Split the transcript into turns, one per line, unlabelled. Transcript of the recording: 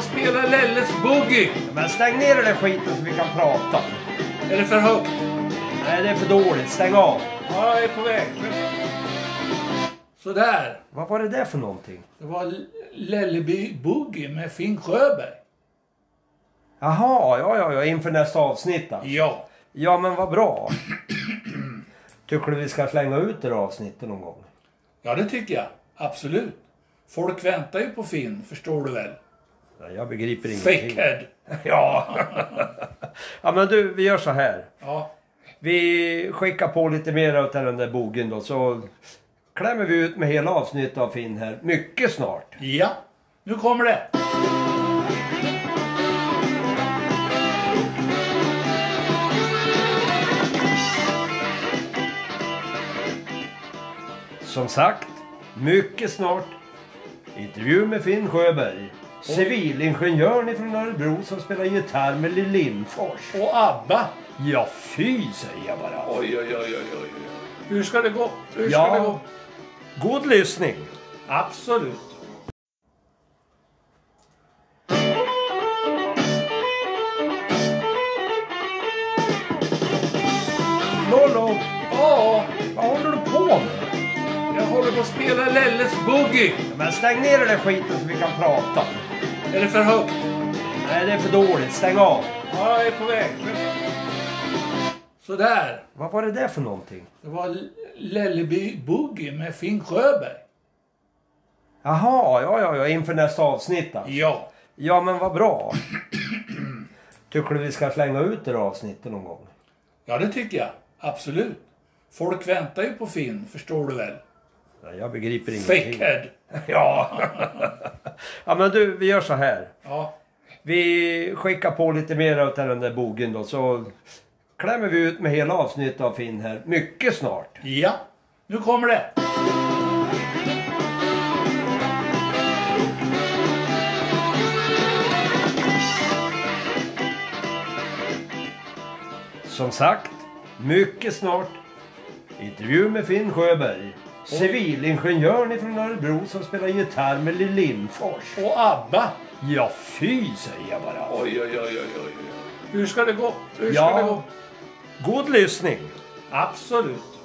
spela Lelles boogie.
Men stäng ner den där skiten så vi kan prata.
Är det för högt?
Nej, det är för dåligt. Stäng av.
Ja, jag är på väg. Sådär.
Vad var det där för någonting?
Det var Lelleby Boogie med Finn Sjöberg.
Jaha, ja, ja, ja. Inför nästa avsnitt alltså.
Ja.
Ja, men vad bra. Tycker du vi ska slänga ut det där avsnittet någon gång?
Ja, det tycker jag. Absolut. Folk väntar ju på Finn, förstår du väl?
Nej, Jag begriper ingenting.
Fakehead.
Ja. ja, men du, vi gör så här.
Ja.
Vi skickar på lite mer av den där bogen då, så klämmer vi ut med hela avsnittet av Finn här mycket snart.
Ja. Nu kommer det.
Som sagt, mycket snart. Intervju med Finn Sjöberg. Civilingenjören från Örebro som spelar gitarr med Lill Lindfors.
Och ABBA.
Ja, fy säger jag bara.
Oj, oj, oj, oj, oj. Hur ska det gå? Hur ska det gå?
Ja, god lyssning.
Absolut.
Lollo,
Ja,
vad håller du på med?
jag håller på att spela Lelles boogie.
Men stäng ner den där skiten så vi kan prata.
Är det för högt?
Nej, det är för dåligt. Stäng av.
Ja, jag är på väg. Sådär.
Vad var det där för någonting?
Det var Lelleby Boogie med Finn Sjöberg.
Jaha, ja, ja, ja, inför nästa avsnitt alltså.
Ja.
Ja, men vad bra. Tycker du vi ska slänga ut det där avsnittet någon gång?
Ja, det tycker jag. Absolut. Folk väntar ju på Finn, förstår du väl?
Nej, Jag begriper ingenting.
Fakehead.
Ja. ja, men du, vi gör så här.
Ja.
Vi skickar på lite mer av den där bogen då, så klämmer vi ut med hela avsnittet av Finn här mycket snart.
Ja. Nu kommer det.
Som sagt, mycket snart. Intervju med Finn Sjöberg. Civilingenjören från Örebro som spelar gitarr med Lill Lindfors.
Och ABBA.
Ja, fy säger jag bara.
Oj, oj, oj, oj, oj. Hur ska det gå? Hur ska det gå?
Ja, god lyssning.
Absolut.